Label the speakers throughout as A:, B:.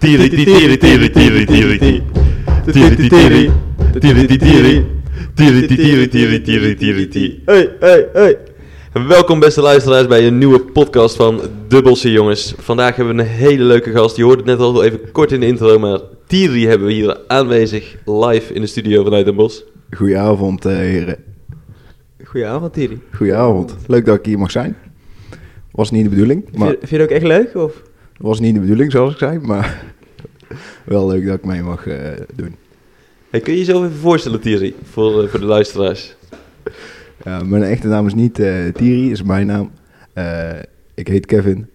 A: Tiri, tiri, tiri, tiri, tiri, tiri. Tiri, tiri, tiri, tiri, tiri. Tiri, tiri, tiri, tiri, tiri, tiri. Hey, hey, hey. Welkom beste luisteraars bij een nieuwe podcast van Dubbelse Jongens. Vandaag hebben we een hele leuke gast. Je hoort het net al even kort in de intro, maar Tiri hebben we hier aanwezig live in de studio vanuit Den Bosch.
B: Goedenavond, eh, heren.
C: Goedenavond, Thierry.
B: Goedenavond. Leuk dat ik hier mag zijn. Was niet de bedoeling, maar
C: Vind, je, vind je het ook echt leuk? Of?
B: was niet de bedoeling zoals ik zei, maar wel leuk dat ik mee mag eh, doen.
A: Hey, kun je jezelf even voorstellen, Thierry, voor, eh, voor de luisteraars?
B: Eh, mijn echte naam is niet eh Thierry, is mijn naam. Eh, ik heet Kevin.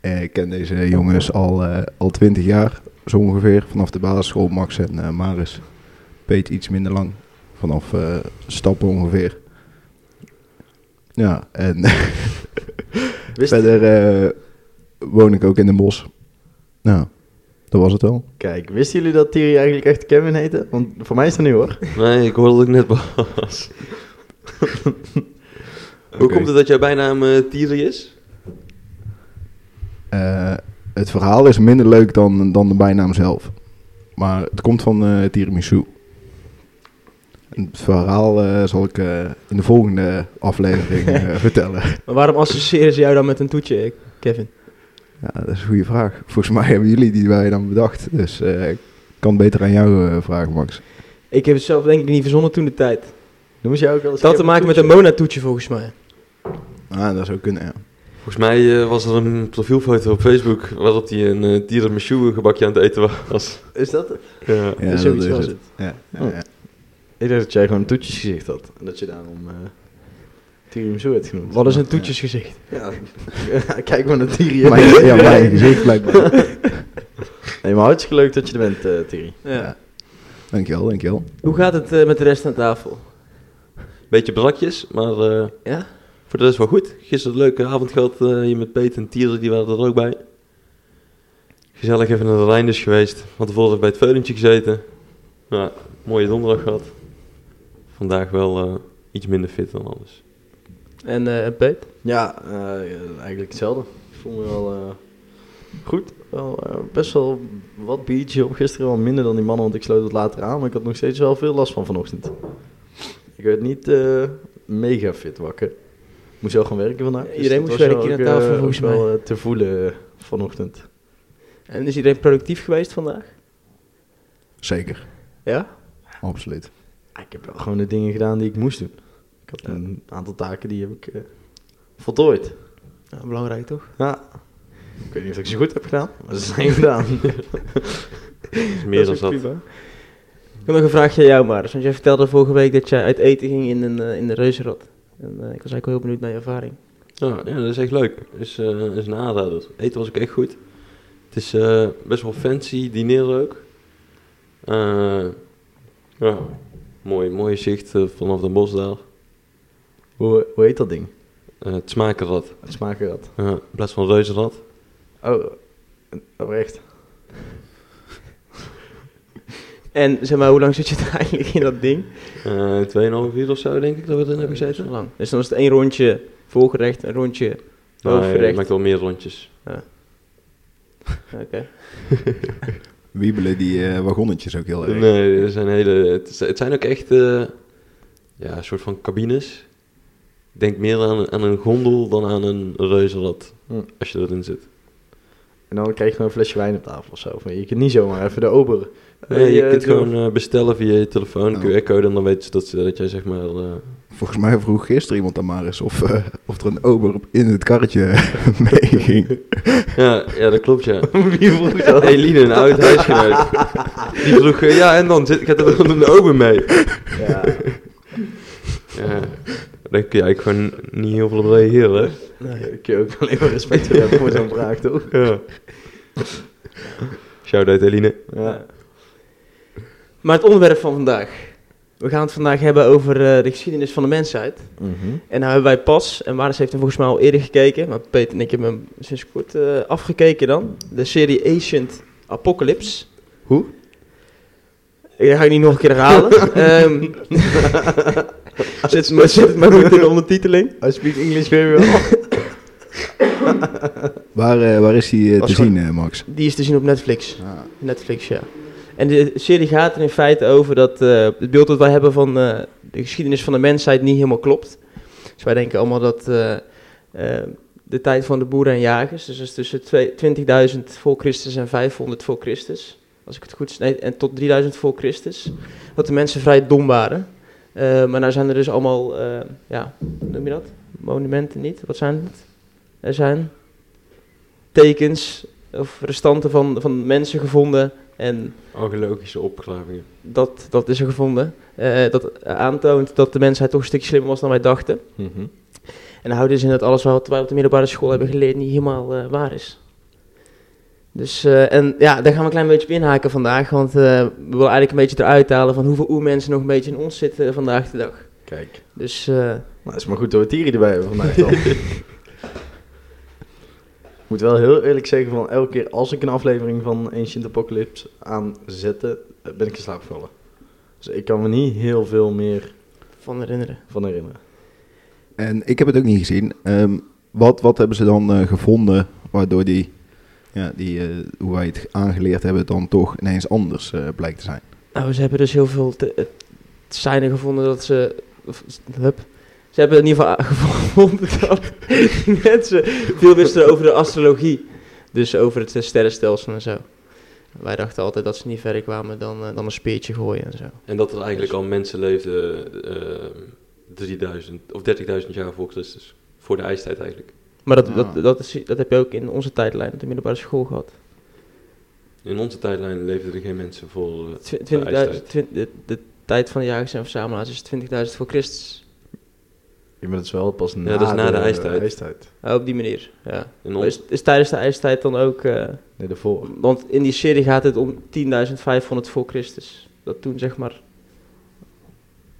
B: Eh, ik ken deze jongens al, eh, al 20 jaar, zo ongeveer. Vanaf de basisschool, Max en eh, Maris. Peet iets minder lang. Vanaf eh, stappen ongeveer. Ja, en
C: Wist
B: verder eh, woon ik ook in Den Bosch. Nou, dat was het wel.
C: Kijk, wisten jullie dat Thierry eigenlijk echt Kevin heette? Want voor mij is dat nu hoor.
A: Nee, ik hoorde dat ik net was. Hoe
B: Oké.
A: komt het dat jouw bijnaam eh Thierry is?
B: Eh, het verhaal is minder leuk dan, dan de bijnaam zelf. Maar het komt van eh tiramisu. En Het verhaal eh, zal ik eh, in de volgende aflevering eh, vertellen.
C: Maar waarom associëren ze jou dan met een toetje, eh, Kevin?
B: Ja, dat is een goede vraag. Volgens mij hebben jullie die bij dan bedacht. Dus eh, ik kan het beter aan jou eh, vragen, Max.
C: Ik heb het zelf denk ik niet verzonnen toen de tijd.
D: Noemen ze jou ook wel eens
C: Het had te maken
D: Kevin
C: met een
D: Toetje?
C: Mona-toetje volgens mij.
B: Ah, dat zou kunnen, ja.
A: Volgens mij eh, was er een profielfoto op Facebook waarop hij een uh, tiramisu gebakje aan het eten was.
D: Is dat het?
A: Ja.
B: Ja, dat
D: Zoiets
B: is
D: was
B: het.
D: het.
B: Ja, ja,
D: Oh.
B: ja.
D: Ik dacht dat jij gewoon een toetjesgezicht had. En dat je daarom eh tiramisu hebt genoemd.
C: Wat is een toetjesgezicht?
D: Ja, kijk maar naar Thierry.
B: Mijn, ja, mijn gezicht blijkbaar.
D: Nee, maar hartstikke leuk dat je er bent, eh Thierry.
B: Ja. Dankjewel, dankjewel.
C: Hoe gaat het eh, met de rest aan tafel?
A: Beetje brakjes, maar eh,
C: Ja?
A: voor de rest wel goed. Gisteren een leuke avond gehad eh, hier met Peet en Thierry, die waren er ook bij. Gezellig even naar de Reinders geweest, want tevoren bij het veulentje gezeten. Ja, mooie donderdag gehad. Vandaag wel eh, iets minder fit dan anders.
C: En eh Peet?
D: Ja, eh, eigenlijk hetzelfde. Ik voel me wel eh, goed. Wel, eh, best wel wat biertje op gisteren, wel minder dan die mannen, want ik sloot het later aan. Maar ik had nog steeds wel veel last van vanochtend. Ik werd niet eh, mega fit wakker. Ik moest wel gaan werken vandaag. dus
C: Iedereen
D: dat
C: moest
D: was wel
C: werken
D: ook,
C: hier aan tafel,
D: eh,
C: volgens
D: ook wel
C: mij.
D: eh, te voelen eh, vanochtend.
C: En is iedereen productief geweest vandaag?
B: Zeker,
D: Ja?
B: absoluut.
D: Ah, Ik heb wel gewoon de dingen gedaan die ik moest doen. Ik had een aantal taken die heb ik eh, voltooid.
C: Nou, belangrijk toch?
D: Ja. Ik weet niet of ik ze goed heb gedaan, maar ze zijn gedaan.
A: Het is meer dan
C: is ook
A: dat.
C: prima. Ik heb nog een vraagje aan jou, Maris. Want jij vertelde vorige week dat jij uit eten ging in, een, eh, in de Reuzenrad. En eh, ik was eigenlijk wel heel benieuwd naar je ervaring.
A: Ja, Nou, ja, dat is echt leuk. Is, eh, is een aanrader. Eten was ook echt goed. Het is eh, best wel fancy, dineren ook. Eh, ja, mooi, mooie zicht eh, vanaf de bos daar.
D: hoe, hoe heet dat ding?
A: Eh, het smakenrad.
D: Het smakenrad.
A: Ja, in plaats van reuzenrad.
D: Oh, oprecht.
C: En zeg maar, hoe lang zit je daar eigenlijk in dat ding?
A: Eh 2,5 uur of zo denk ik dat we erin hebben
C: Dat is wel
A: gezeten.
C: lang. Dus dan is het één rondje voorgerecht, een rondje
A: Nee, het
C: hoofdgerecht.
A: maakt wel meer rondjes.
C: Oké.
B: Wiebelen die eh, wagonnetjes ook heel erg.
A: Nee, er zijn hele, het, is- het zijn ook echt eh, ja, een soort van cabines. Ik denk meer aan, aan een gondel dan aan een reuzenrad.
D: Hm.
A: Als je erin zit.
D: En dan krijg je gewoon een flesje wijn op tafel of zo. Maar je kunt niet zomaar even de ober.
A: Nee, je
D: eh,
A: kunt
D: doen.
A: gewoon eh, bestellen via je telefoon,
B: Oh.
A: QR-code, en dan weten ze dat, ze- dat jij zeg maar... eh,
B: Volgens mij vroeg gisteren iemand aan Maris of, eh, of er een ober op- in het karretje mee ging.
A: Ja, ja, dat klopt, ja.
D: Wie vroeg dat?
A: Eline, een oud huisgenoot. Die vroeg, eh, ja, en dan zit, gaat er gewoon een ober mee.
D: Ja.
A: Ja, daar kun je eigenlijk gewoon niet heel veel op reageren, hè?
D: Ik kun je ook alleen maar respect hebben voor zo'n vraag, toch?
A: Ja. Shout-out, Eline.
D: Ja.
C: Maar het onderwerp van vandaag. We gaan het vandaag hebben over eh, de geschiedenis van de mensheid.
D: Mhm.
C: En nou hebben wij pas, en Maris heeft er volgens mij al eerder gekeken, maar Peter en ik hebben hem sinds kort eh, afgekeken dan. De serie Ancient Apocalypse.
D: Hoe?
C: Ik ga ik niet nog een keer herhalen. Ehm zet, het maar, zet het maar goed in de ondertiteling.
D: I speak English very well.
B: Waar, eh, waar is die eh,
C: Was
B: te
C: gewoon-
B: zien, eh, Max?
C: Die is te zien op Netflix.
B: Ah,
C: Netflix, ja. En de serie gaat er in feite over dat eh, het beeld dat wij hebben van eh, de geschiedenis van de mensheid niet helemaal klopt. Dus wij denken allemaal dat eh, eh, de tijd van de boeren en jagers, dus dat is tussen twee- 20.000 voor Christus en 500 voor Christus, als ik het goed nee, en tot 3000 voor Christus, dat de mensen vrij dom waren. Eh, maar nou zijn er dus allemaal, eh, ja, hoe noem je dat? Monumenten niet? Wat zijn het? Er zijn tekens of restanten van, van mensen gevonden. En
A: Archeologische opklaringen.
C: dat, dat is er gevonden. Eh, dat aantoont dat de mensheid toch een stukje slimmer was dan wij dachten.
D: Mhm.
C: En dan houdt dus in dat alles wat wij op de middelbare school hebben geleerd niet helemaal eh, waar is. Dus, eh, en ja, daar gaan we een klein beetje op inhaken vandaag. Want eh, we willen eigenlijk een beetje eruit halen van hoeveel oermensen nog een beetje in ons zitten eh, vandaag de dag.
D: Kijk.
C: Dus eh,
D: Nou, is maar goed dat we Thierry erbij hebben vandaag dan. Ik moet wel heel eerlijk zeggen, van elke keer als ik een aflevering van Ancient Apocalypse aanzette, eh, ben ik in slaap gevallen. Dus ik kan me niet heel veel meer
C: van herinneren.
D: van herinneren.
B: En ik heb het ook niet gezien. Ehm, wat, wat hebben ze dan eh, gevonden waardoor die, ja, die eh, hoe wij het aangeleerd hebben, dan toch ineens anders eh, blijkt te zijn?
C: Nou, ze hebben dus heel veel te, eh, seinen gevonden dat ze. Of, hup. Ze hebben in ieder geval a- gevonden dat die mensen veel wisten over de astrologie. Dus over het eh, sterrenstelsel en zo. Wij dachten altijd dat ze niet verder kwamen dan, eh, dan een speertje gooien en zo.
A: En dat er eigenlijk al mensen leefden eh, 3000 of 30.000 jaar voor Christus. Voor de ijstijd eigenlijk.
C: Maar dat,
B: Ah.
C: dat, dat, is, dat heb je ook in onze tijdlijn op de middelbare school gehad.
A: In onze tijdlijn leefden er geen mensen voor... eh,
C: Tw- 20.000 twin- de, de tijd van de jagers en verzamelaars is 20.000 voor Christus.
D: Je bent het wel pas na,
A: dat is na de ijstijd.
C: Ah, op die manier, ja.
A: in
C: Maar
A: ons,
C: Is, is tijdens de ijstijd dan ook... eh,
D: Nee, daarvoor.
C: Want in die serie gaat het om 10.500 voor Christus. Dat toen zeg maar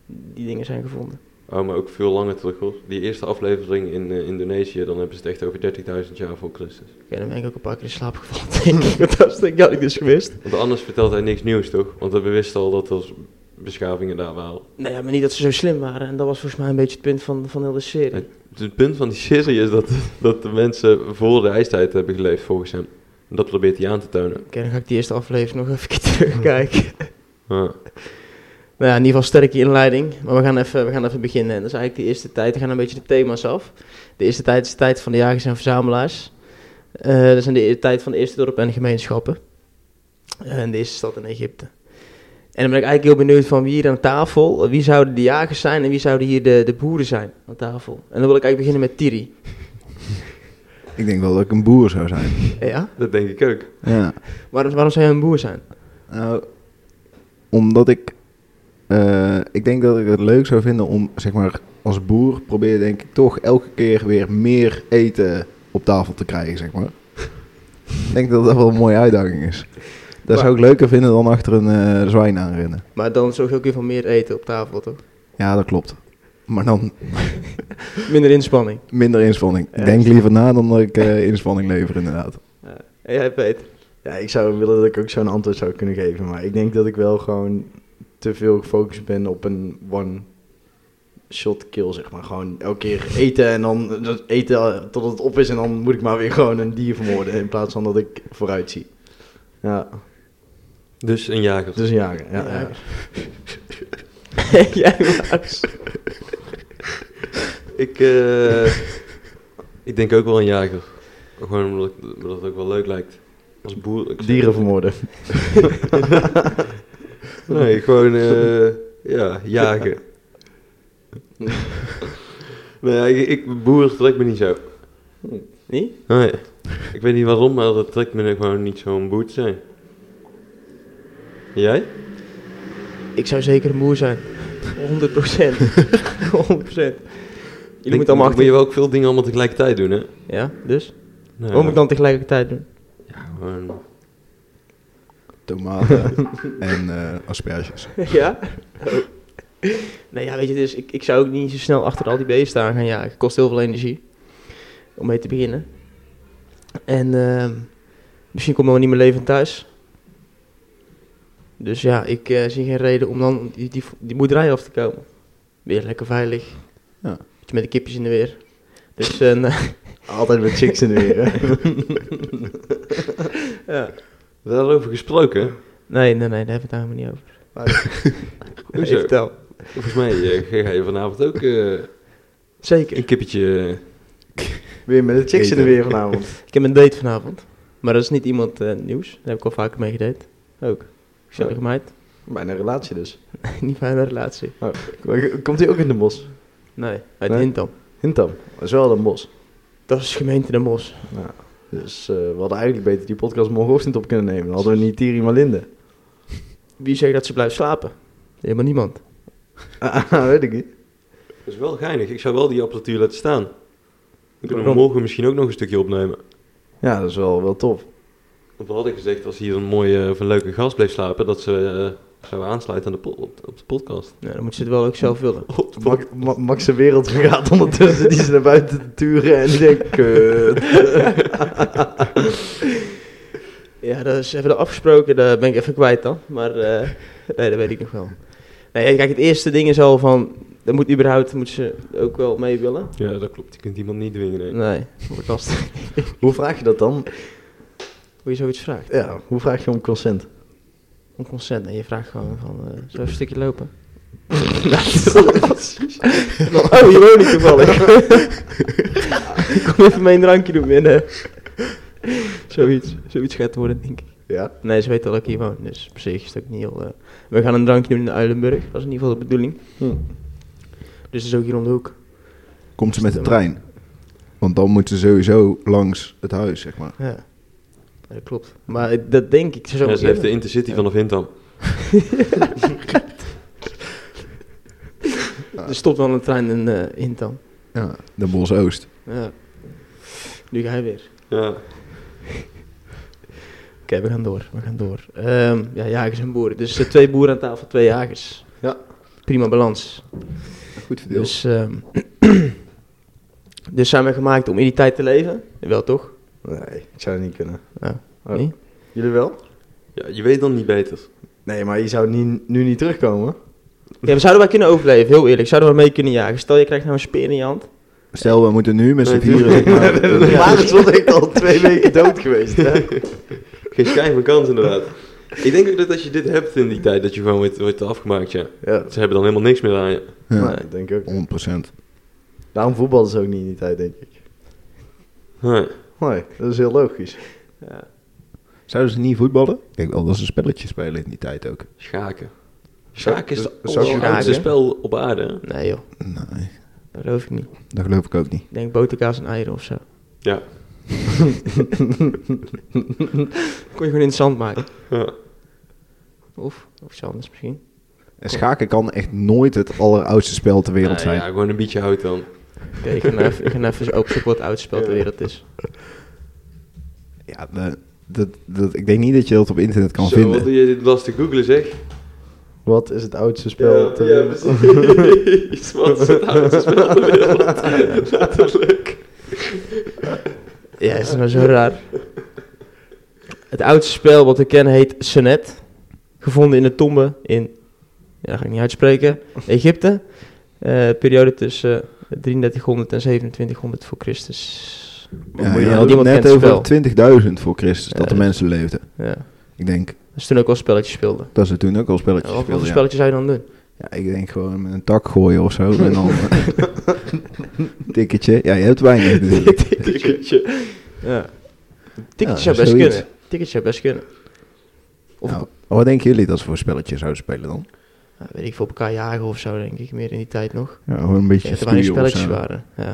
C: die dingen zijn gevonden.
A: oh, maar ook veel langer terug hoor. Die eerste aflevering in eh, Indonesië, dan hebben ze het echt over 30.000 jaar voor Christus.
C: Oké, dan ben ik ook een paar keer in slaap gevallen, denk ik. Want dat is denk ik, had ik dus gewist.
A: Want anders vertelt hij niks nieuws toch? Want we wisten al dat er beschavingen daar waren.
C: Nou ja, maar niet dat ze zo slim waren. En dat was volgens mij een beetje het punt van, van heel de serie.
A: Dus het punt van die serie is dat, dat de mensen voor de ijstijd hebben geleefd volgens hem. En dat probeert hij aan te tonen.
C: Oké, dan ga ik die eerste aflevering nog even terugkijken.
A: Ah.
C: Nou ja, in ieder geval sterke inleiding. Maar we gaan even, we gaan even beginnen. En dat is eigenlijk de eerste tijd. We gaan een beetje de thema's af. De eerste tijd is de tijd van de jagers en verzamelaars. Eh dat zijn de e- tijd van de eerste dorpen en gemeenschappen. en de eerste stad in Egypte. En dan ben ik eigenlijk heel benieuwd van wie hier aan tafel, eh, wie zouden de jagers zijn en wie zouden hier de, de boeren zijn aan tafel. En dan wil ik eigenlijk beginnen met Tiri.
B: Ik denk wel dat ik een boer zou zijn.
C: Ja?
A: Dat denk ik ook.
B: ja.
C: Waarom, waarom zou jij een boer zijn?
B: Nou, omdat ik... eh, ik denk dat ik het leuk zou vinden om, zeg maar, als boer probeer denk ik toch elke keer weer meer eten op tafel te krijgen, zeg maar. ik denk dat dat wel een mooie uitdaging is. Dat zou ik leuker vinden dan achter een eh, zwijn aanrennen.
C: Maar dan zorg je ook weer van meer eten op tafel, toch?
B: Ja, dat klopt. Maar dan
C: Minder inspanning.
B: minder inspanning.
C: Ja.
B: Ik denk liever na dan dat ik eh, inspanning lever, inderdaad.
C: En jij, Peter?
D: Ja, ik zou willen dat ik ook zo'n antwoord zou kunnen geven. Maar ik denk dat ik wel gewoon te veel gefocust ben op een one-shot kill, zeg maar. Gewoon elke keer eten en dan dat eten eh, totdat het op is. En dan moet ik maar weer gewoon een dier vermoorden. In plaats van dat ik vooruit zie. Ja,
A: Dus een jager.
D: dus een jager. Ja, ja.
C: jij, Max?
A: Ik, eh, ik denk ook wel een jager. Gewoon omdat, ik- omdat het ook wel leuk lijkt. Als boer. ik-
D: Dieren vermoorden.
A: Nee, gewoon eh, ja, jagen. nee, ik, ik, boer trekt me niet zo.
C: Niet?
A: Nee. Ik weet niet waarom, maar dat trekt me gewoon niet zo'n boer te zijn. Jij?
C: Ik zou zeker een boer zijn. 100 procent. 100 procent. Jullie moeten allemaal
A: Moet
C: achter...
A: je wel ook veel dingen allemaal tegelijkertijd doen, hè?
C: Ja, dus?
A: Nou,
C: Wat moet ik dan tegelijkertijd doen?
A: ja, gewoon-
B: Tomaten en eh, asperges.
C: ja? Oh. Nee, ja, weet je, dus ik, ik zou ook niet zo snel achter al die beesten aan gaan jagen. Het kost heel veel energie om mee te beginnen. En ehm, misschien kom ik wel niet meer levend thuis. Dus ja, ik eh, zie geen reden om dan die, die, die boerderij af te komen. Weer lekker veilig.
B: Ja.
C: Beetje Met de kipjes in de weer. Dus eh, nou,
D: Altijd met chicks in de weer, hè?
C: Ja.
A: We hebben daarover gesproken.
C: Nee, nee, nee, daar hebben we het helemaal niet over.
A: Hoezo?
C: Ik vertel.
A: Volgens mij eh, ga je vanavond ook eh,
C: Zeker.
A: een kippetje... eh,
D: Weer met de chicks in de weer vanavond.
C: Ik heb een date vanavond. Maar dat is niet iemand eh, nieuws. Daar heb ik al vaker mee gedate. Ook. Oh. Gezellige meid.
D: Bijna een relatie dus.
C: niet fijne relatie.
D: eh, Komt hij ook in de bos?
C: Nee, uit
D: Nee?
C: Hintam.
D: Hintam. Dat is wel een bos.
C: Dat is gemeente Den Bosch.
D: Dus eh, we hadden eigenlijk beter die podcast morgenochtend op kunnen nemen. Dan hadden we niet Thierry, maar Linde.
C: Wie zegt dat ze blijft slapen? Helemaal niemand.
D: Ah, weet ik niet.
A: Dat is wel geinig. Ik zou wel die apparatuur laten staan. Dan kunnen we
C: Waarom?
A: morgen misschien ook nog een stukje opnemen.
D: Ja, dat is wel, wel tof.
A: Want we hadden gezegd, als hier een mooie of een leuke gast bleef slapen, dat ze eh, zouden aansluiten aan de po- op, op de podcast.
C: Nou, dan moet ze het wel ook zelf willen.
A: Op de
D: Max, Ma- Max zijn wereld vergaat ondertussen. Die is naar buiten te turen en die denkt... Kut.
C: Ja, dat is even afgesproken. Dat ben ik even kwijt dan. Maar eh, nee, dat weet ik nog wel. Nee, kijk, het eerste ding is al van... Dat moet überhaupt moet ze ook wel mee willen.
A: Ja, dat klopt. Je kunt iemand niet dwingen. Nee.
C: Nee, dat wordt lastig.
D: Hoe vraag je dat dan?
C: Hoe je zoiets vraagt.
D: Ja, hoe vraag je om consent?
C: Om consent. En je vraagt gewoon van... eh, zullen we een stukje lopen? oh, je woont niet toevallig. Kom even mijn drankje doen binnen. Zoiets. Zoiets gaat het worden, denk ik.
D: Ja.
C: Nee, ze weten wel dat ik hier woon, dus op zich is het ook niet heel... eh, We gaan een drankje doen in de Uilenburg, dat is in ieder geval de bedoeling.
D: Hm.
C: Dus dat is ook hier om de hoek.
B: Komt ze met de trein? Want dan moeten ze sowieso langs het huis, zeg maar.
C: Ja, Ja, dat klopt. Maar ik- dat denk ik, ze zou
A: Ja,
C: ook
A: ze heeft de
C: eerder-
A: Intercity vanaf Hintam.
C: Er stopt wel een trein in eh Hintam.
B: Ja. Den Bosch Oost.
C: Ja. Nu ga je weer.
A: Ja.
C: Oké, we gaan door, we gaan door. Ehm, ja, jagers en boeren. Dus eh, twee boeren aan tafel, twee jagers.
D: Ja.
C: Prima balans.
B: Goed verdeeld.
C: Dus, ehm, dus zijn we gemaakt om in die tijd te leven? Wel toch?
D: Nee, ik zou het niet kunnen.
C: Ja.
D: Oh.
C: Nee?
D: Jullie wel?
A: ja, je weet dan niet beter.
D: Nee, maar je zou niet, nu niet terugkomen.
C: Ja, we zouden wel kunnen overleven, heel eerlijk. Zouden we mee kunnen jagen? Stel, je krijgt nou een speer in je hand.
B: Stel, we moeten nu met z'n
A: Nee,
B: vieren...
A: tuurlijk.
B: zeg maar,
D: Maar Maris was echt al twee weken dood geweest. Hè?
A: Geen schijn van kans inderdaad. Ik denk ook dat als je dit hebt in die tijd, dat je gewoon wordt, wordt afgemaakt, ja.
D: Ja,
A: Ze hebben dan helemaal niks meer aan je.
B: Ja,
D: nee, ik denk ook.
B: 100%.
D: Daarom voetballen ze ook niet in die tijd, denk ik.
A: Nee.
D: Nee, dat is heel logisch.
C: Ja.
B: Zouden ze niet voetballen? Ik denk wel dat ze een spelletje spelen in die tijd ook.
A: Schaken. Schaken is
D: Zou-
A: het
D: zou je-
A: oudste
C: Schaken?
A: spel op aarde. hè?
C: Nee joh,
B: Nee,
C: dat geloof ik niet.
B: dat geloof ik ook niet.
C: Ik denk boterkaas en eieren of zo.
A: Nou Ja.
C: Kon je gewoon in het zand maken.
A: ja.
C: Of, of iets anders misschien.
B: En schaken kan echt nooit het alleroudste spel ter wereld
A: Ah,
B: zijn.
A: Ja, gewoon een beetje hout dan.
C: Oké, ik ga nou even, ik ga nou even opzoeken wat het oudste spel ter wereld is.
B: Ja, de- dat, dat, ik denk niet dat je dat op internet kan
A: Zo,
B: vinden.
A: wat doe je dit lastig googlen zeg.
D: Wat is het oudste spel? ter
A: ja,
D: wereld?
A: precies. Wat is het oudste spel ter wereld? Letterlijk.
C: Ja, is dat nou zo raar? Het oudste spel wat ik ken heet Senet. Gevonden in de tombe in, ja, dat ga ik niet uitspreken, Egypte. Eh, periode tussen eh, 3300 en 2700 voor Christus.
B: Ja,
C: Moet
B: je
C: nou-
B: had het
C: niemand
B: net
C: kent het
B: over 20.000 voor Christus
C: Ja,
B: dat de
C: dat-
B: mensen leefden.
C: Ja,
B: Ik denk
C: dat is toen ook wel spelletjes speelden.
B: dat ze toen ook al
C: Ja,
B: spelletjes
C: Wat wat voor
B: speelden. ja.
C: spelletjes zou je dan doen?
B: Ja, ik denk gewoon met een tak gooien of zo. en dan eh, tikketje. Ja, je hebt weinig dus natuurlijk.
A: Tikkertje.
C: Ja.
B: Ja,
C: Tickets zou best
B: zoiets.
C: kunnen. Tickets zou best kunnen. Of
B: Nou, wat denken jullie dat ze voor spelletje zouden spelen dan?
C: nou, weet ik veel, op elkaar jagen of zo, denk ik. Meer in die tijd nog.
B: Ja, gewoon een beetje
C: Ja, er weinig
B: stuur of
C: spelletjes
B: zo.
C: waren. Ja.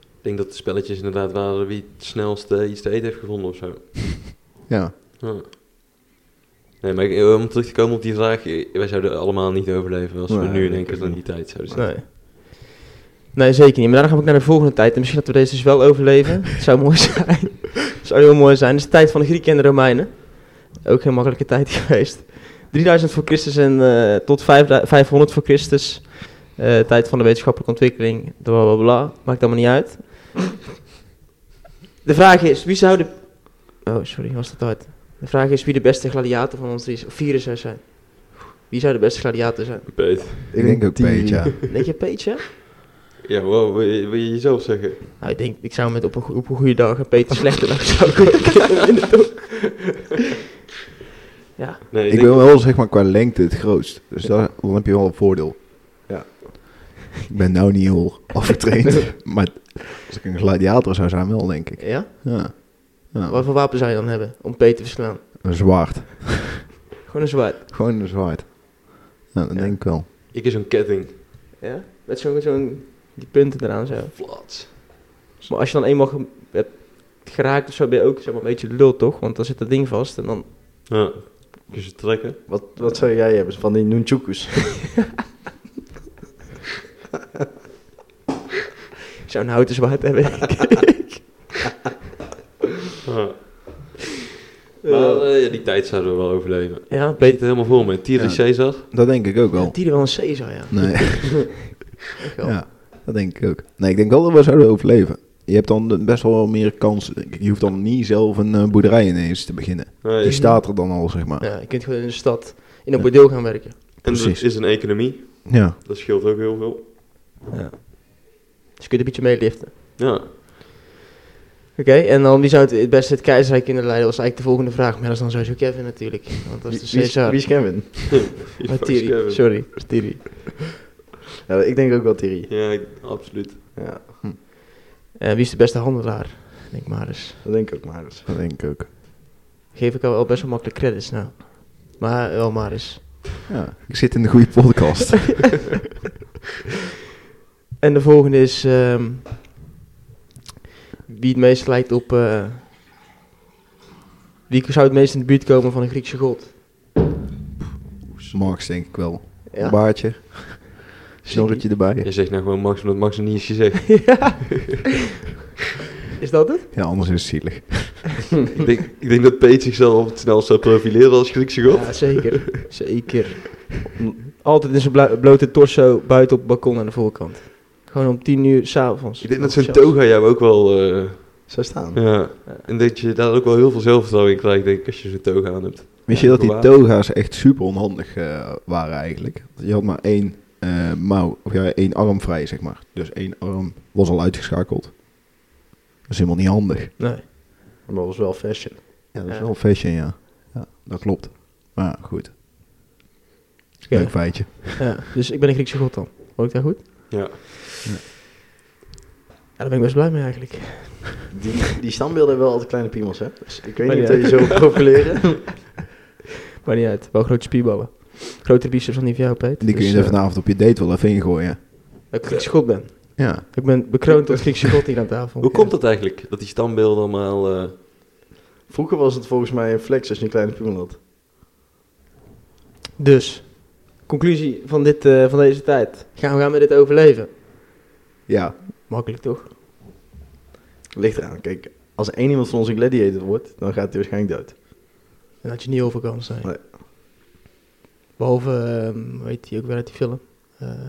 A: Ik denk dat de spelletjes inderdaad waren wie het snelste iets te eten heeft gevonden of zo.
B: Ja,
A: Ja. Nee, maar ik- eh, om terug te komen op die vraag, eh, wij zouden allemaal niet overleven als we
B: Nee,
A: nu in
B: denk
A: één keer
B: ik
A: in die
B: niet.
A: tijd zouden zijn.
C: Nee. nee, zeker niet. Maar daarna ga ik naar de volgende tijd. En misschien dat we deze dus wel overleven. Het zou mooi zijn. Het zou heel mooi zijn. Het is de tijd van de Grieken en de Romeinen. Ook geen makkelijke tijd geweest. 3000 voor Christus en eh, tot 5000 500 voor Christus. Eh, tijd van de wetenschappelijke ontwikkeling. Bla bla bla. Maakt allemaal niet uit. De vraag is, wie zou de... Oh, sorry, was dat hard. De vraag is wie de beste gladiator van ons drie is- of vieren zou zijn. Wie zou de beste gladiator zijn?
A: Peet.
B: ik denk ook
D: Die-
B: Peet, ja.
C: Denk je Peetje?
A: Ja, wow, wil je, wil je jezelf zeggen?
C: Nou, ik denk, ik zou met op een, go- op een goede dag en Peter slechte dag zou ik kunnen winnen, toch? Ja,
A: Nee,
B: Ik ben wel zeg maar qua lengte het grootst. Dus daar, dan heb je wel een voordeel.
A: Ja.
B: Ik ben nou niet heel afgetraind. maar als ik een gladiator zou zijn, wel denk ik.
C: ja?
B: Ja. ja.
C: Wat voor wapen zou je dan hebben om Peter te verslaan?
B: Een zwaard.
C: Gewoon een zwaard.
B: Gewoon een zwaard. Ja, dat
C: Ja.
B: denk ik wel.
A: Ik is een ketting.
C: Ja? Met zo'n, zo'n die punten eraan zo.
A: Flats.
C: Maar als je dan eenmaal ge- hebt geraakt of zo, ben je ook zeg maar, een beetje lul, toch? Want dan zit dat ding vast en dan...
A: Ja. Kun je ze trekken?
D: Wat, wat zou jij hebben van die nunchukus?
C: Ik zou een houten zwaard hebben, denk ik.
A: Ja. Maar eh, ja, die tijd zouden we wel overleven.
C: Ja,
A: Peter
C: Peter.
A: het helemaal vol met Thierry
B: Ja.
A: Caesar.
B: Dat denk ik ook
C: Ja,
B: wel.
C: die er wel een C zou, ja.
B: Nee.
C: Echt wel.
B: Ja, dat denk ik ook. Nee, ik denk wel dat we zouden overleven. Je hebt dan best wel meer kansen, denk ik. Je hoeft dan niet zelf een eh, boerderij ineens te beginnen.
A: Nee.
B: Die staat er dan al, zeg maar.
C: Ja, je kunt gewoon in de stad, in een
B: Ja.
C: bordeel gaan werken.
A: En
B: precies.
A: er is een economie.
B: Ja.
A: Dat scheelt ook heel veel.
C: Ja. Dus je kunt een beetje meeliften.
A: Ja.
C: Oké, en dan wie zou het, het beste het keizerrijk kunnen leiden? was eigenlijk de volgende vraag. Maar dat is dan sowieso Kevin natuurlijk. Want dat
D: Wie,
C: is
D: wie
C: de
D: is-
C: Caesar.
D: wie is Kevin?
A: Die
C: Maar
A: fucks
C: Thierry,
A: Kevin.
C: sorry. Thierry.
D: Ja, ik denk ook wel Thierry.
A: Ja, ik- absoluut.
D: Ja,
C: Eh, wie is de beste handelaar? Denk maar eens.
D: dat denk ik ook maar eens.
B: Dat denk ik ook.
C: Geef ik al wel best wel makkelijk credits nou. Maar eh, wel maar eens.
B: Ja. Ik zit in de goede podcast.
C: En de volgende is... ehm, wie het meest lijkt op... eh, wie zou het meest in de buurt komen van een Griekse god?
B: Max denk ik wel.
C: Ja.
B: Een baardje. Snorretje erbij.
A: Je zegt nou gewoon Max, omdat Max het niet is gezegd.
C: Is dat het?
B: Ja, anders is het zielig.
A: ik, denk, ik denk dat Peet zichzelf het snelst zou profileren als Griekse god.
C: Ja, zeker. zeker. Altijd in zijn bla- blote torso buiten op het balkon aan de voorkant. Gewoon om tien uur s'avonds.
A: Ik denk dat zo'n toga jou ook wel... eh,
D: Zou staan.
A: ja. En dat je daar ook wel heel veel zelfvertrouwen in krijgt, denk ik, als je zo'n toga aan hebt.
B: Wist je dat die toga's echt super onhandig eh, waren eigenlijk? Je had maar één eh, mouw, of ja, één arm vrij, zeg maar. Dus één arm was al uitgeschakeld. Dat is helemaal niet handig.
C: Nee.
D: Maar dat was wel fashion.
B: Ja, dat is
C: Ja.
B: wel fashion, ja. ja. Dat klopt. Maar ja, goed.
C: Ja.
B: Leuk feitje.
C: Ja, dus ik ben een Griekse god dan. Hoor ik dat goed?
A: Ja.
C: Ja, daar ben ik best blij mee eigenlijk.
D: Die, die standbeelden hebben wel altijd kleine piemels, hè? Dus ik weet
C: Maar
D: niet
C: ja.
D: of je zo profileren.
C: Maar niet uit. Wel grote spierballen. Grotere biceps dan die van jou, Peet.
B: Die kun je
C: Dus,
B: er
C: eh,
B: vanavond op je date wel even ingooien.
C: dat ik Griekse god ben.
B: Ja.
C: Ik ben bekroond tot Griekse god hier aan tafel.
A: Hoe komt dat eigenlijk? Dat die standbeelden allemaal... eh,
D: Vroeger was het volgens mij een flex als je een kleine piemel had.
C: Dus, conclusie van, dit, eh, van deze tijd. Gaan we gaan met dit overleven?
B: Ja.
C: Makkelijk toch?
D: Ligt eraan. Kijk, als één iemand van ons een gladiator wordt, dan gaat hij waarschijnlijk dood.
C: Dan had je niet heel veel kans, nee.
D: Nee.
C: Behalve, ehm, hoe heet die ook weer uit die film? Eh,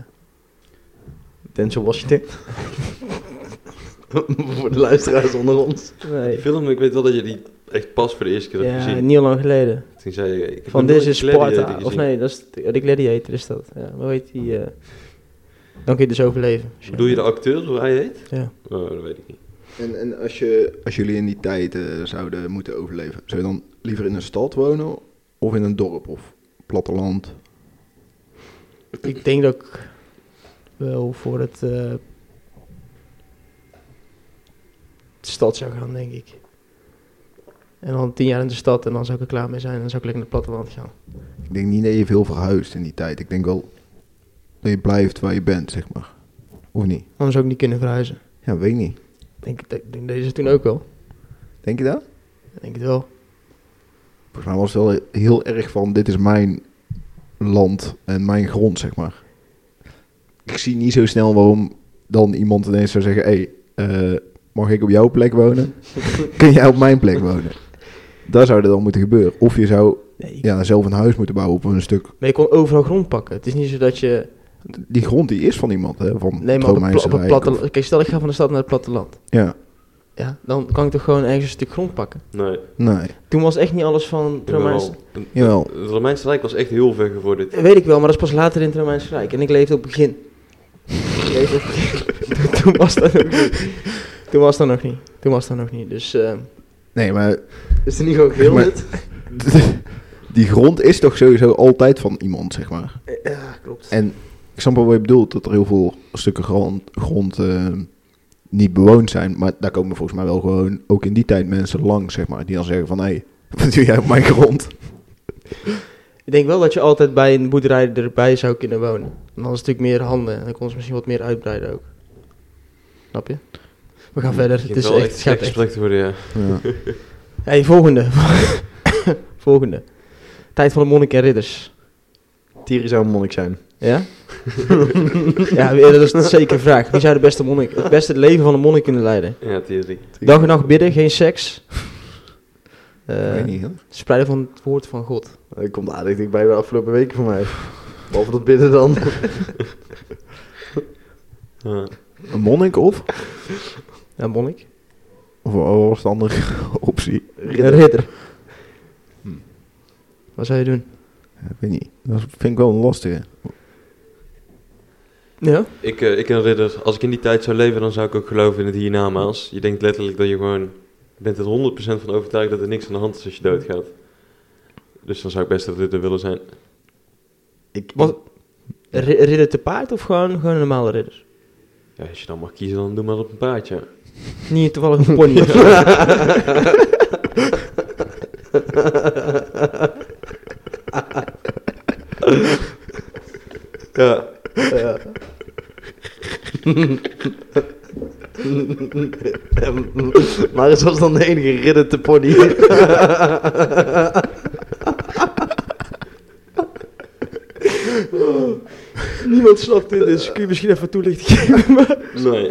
D: Denzel Washington. voor de luisteraars onder ons.
A: Die
C: nee.
A: film, ik weet wel dat je die echt pas voor de eerste keer hebt
C: Ja,
A: gezien.
C: niet heel lang geleden.
A: Toen zei je... Ik heb
C: Van
A: nog
C: This
A: nooit
C: is
A: Gladiator
C: Sparta.
A: gezien.
C: Of nee, dat is de Gladiator is dat. Ja, hoe heet die? eh, Dan kun je dus overleven.
A: Bedoel je de acteur, hoe hij heet?
C: Ja.
A: Oh, dat weet ik niet.
B: En, en als, je, als jullie in die tijd eh, zouden moeten overleven, zou je dan liever in een stad wonen of in een dorp of platteland?
C: Ik denk dat ik wel voor het eh, de stad zou gaan, denk ik. En dan tien jaar in de stad en dan zou ik er klaar mee zijn. En dan zou ik lekker naar het platteland gaan.
B: Ik denk niet dat je veel verhuist in die tijd. Ik denk wel dat je blijft waar je bent, zeg maar. Of niet?
C: Anders zou ik niet kunnen verhuizen.
B: Ja, weet ik niet.
C: Ik Denk, ik denk- denk deze toen ook wel.
B: Denk je dat?
C: Ik Denk het wel.
B: Volgens mij was het wel heel erg van dit is mijn land en mijn grond, zeg maar. Ik zie niet zo snel waarom dan iemand ineens zou zeggen, hé, hey, eh, mag ik op jouw plek wonen? Kun jij op mijn plek wonen? Daar zou dat dan moeten gebeuren. Of je zou
C: Nee, ik-
B: ja, zelf een huis moeten bouwen op een stuk.
C: Maar je kon overal grond pakken. Het is niet zo dat je...
B: Die grond die is van iemand, hè? Van
C: Nee, maar op het, pla- op het platteland... Kijk, stel ik ga van de stad naar het platteland.
B: Ja,
C: Ja, dan kan ik toch gewoon ergens een stuk grond pakken.
A: Nee.
B: nee,
C: Toen was echt niet alles van het Romeinse...
A: Jawel.
B: jawel.
A: Het Romeinse Rijk was echt heel ver gevorderd.
C: Weet ik wel, maar dat is pas later in het Romeinse Rijk. En ik leefde op het begin. Deze keer- toen was dat nog niet. Toen was dat nog niet. Toen was dat nog niet. Dus eh,
B: Nee, maar
D: Is het niet gewoon heel
B: Maar-
D: dit?
B: die grond is toch sowieso altijd van iemand, zeg maar.
C: eh, ja, klopt.
B: En ik snap wel wat je bedoelt, dat er heel veel stukken grond, grond eh, niet bewoond zijn. Maar daar komen volgens mij wel gewoon, ook in die tijd, mensen langs, zeg maar. Die dan zeggen van, hé, hey, wat doe jij op mijn grond?
C: Ik denk wel dat je altijd bij een boerderij erbij zou kunnen wonen. En dan is het natuurlijk meer handen. En dan kon ze misschien wat meer uitbreiden ook. Snap je? We gaan verder. Het is
A: wel
C: echt, het gaat echt.
A: gesprek te worden, ja.
B: Ja.
C: Hey, volgende. volgende. Tijd van de monniken en ridders.
D: Thierry zou een monnik zijn.
C: Ja? ja, dat is zeker een vraag. Wie zou de beste monnik, het beste leven van een monnik kunnen leiden?
A: eh, Ja, theorie.
C: Dag en nacht bidden, geen seks. Eh,
B: Weet niet, hè?
C: spreiden van het woord van God.
D: Dat komt aardig dichtbij de afgelopen weken voor mij. Behalve dat bidden dan.
A: Ja.
B: Een monnik of?
C: Ja, monnik.
B: Of wat was de andere optie?
C: Ridder. ridder. Wat zou je doen?
B: Ja, ik weet niet. Dat vind ik wel een lastige.
C: Ja?
A: Ik, eh, ik een ridder. Als ik in die tijd zou leven, dan zou ik ook geloven in het hiernamaals. Je denkt letterlijk dat je gewoon... Je bent er 100% van overtuigd dat er niks aan de hand is als je doodgaat. Dus dan zou ik best een ridder willen zijn.
D: Ik,
C: Wat? Ri- Ridder te paard of gewoon, gewoon een normale ridder?
A: Ja, als je dan mag kiezen, dan doe maar op een paardje.
C: Niet toevallig een pony.
A: Ja.
D: Ja. Ehm, maar het was dan de enige ridder te pony.
C: Niemand snapt dit, dus kun je misschien even toelichting geven?
A: Nee.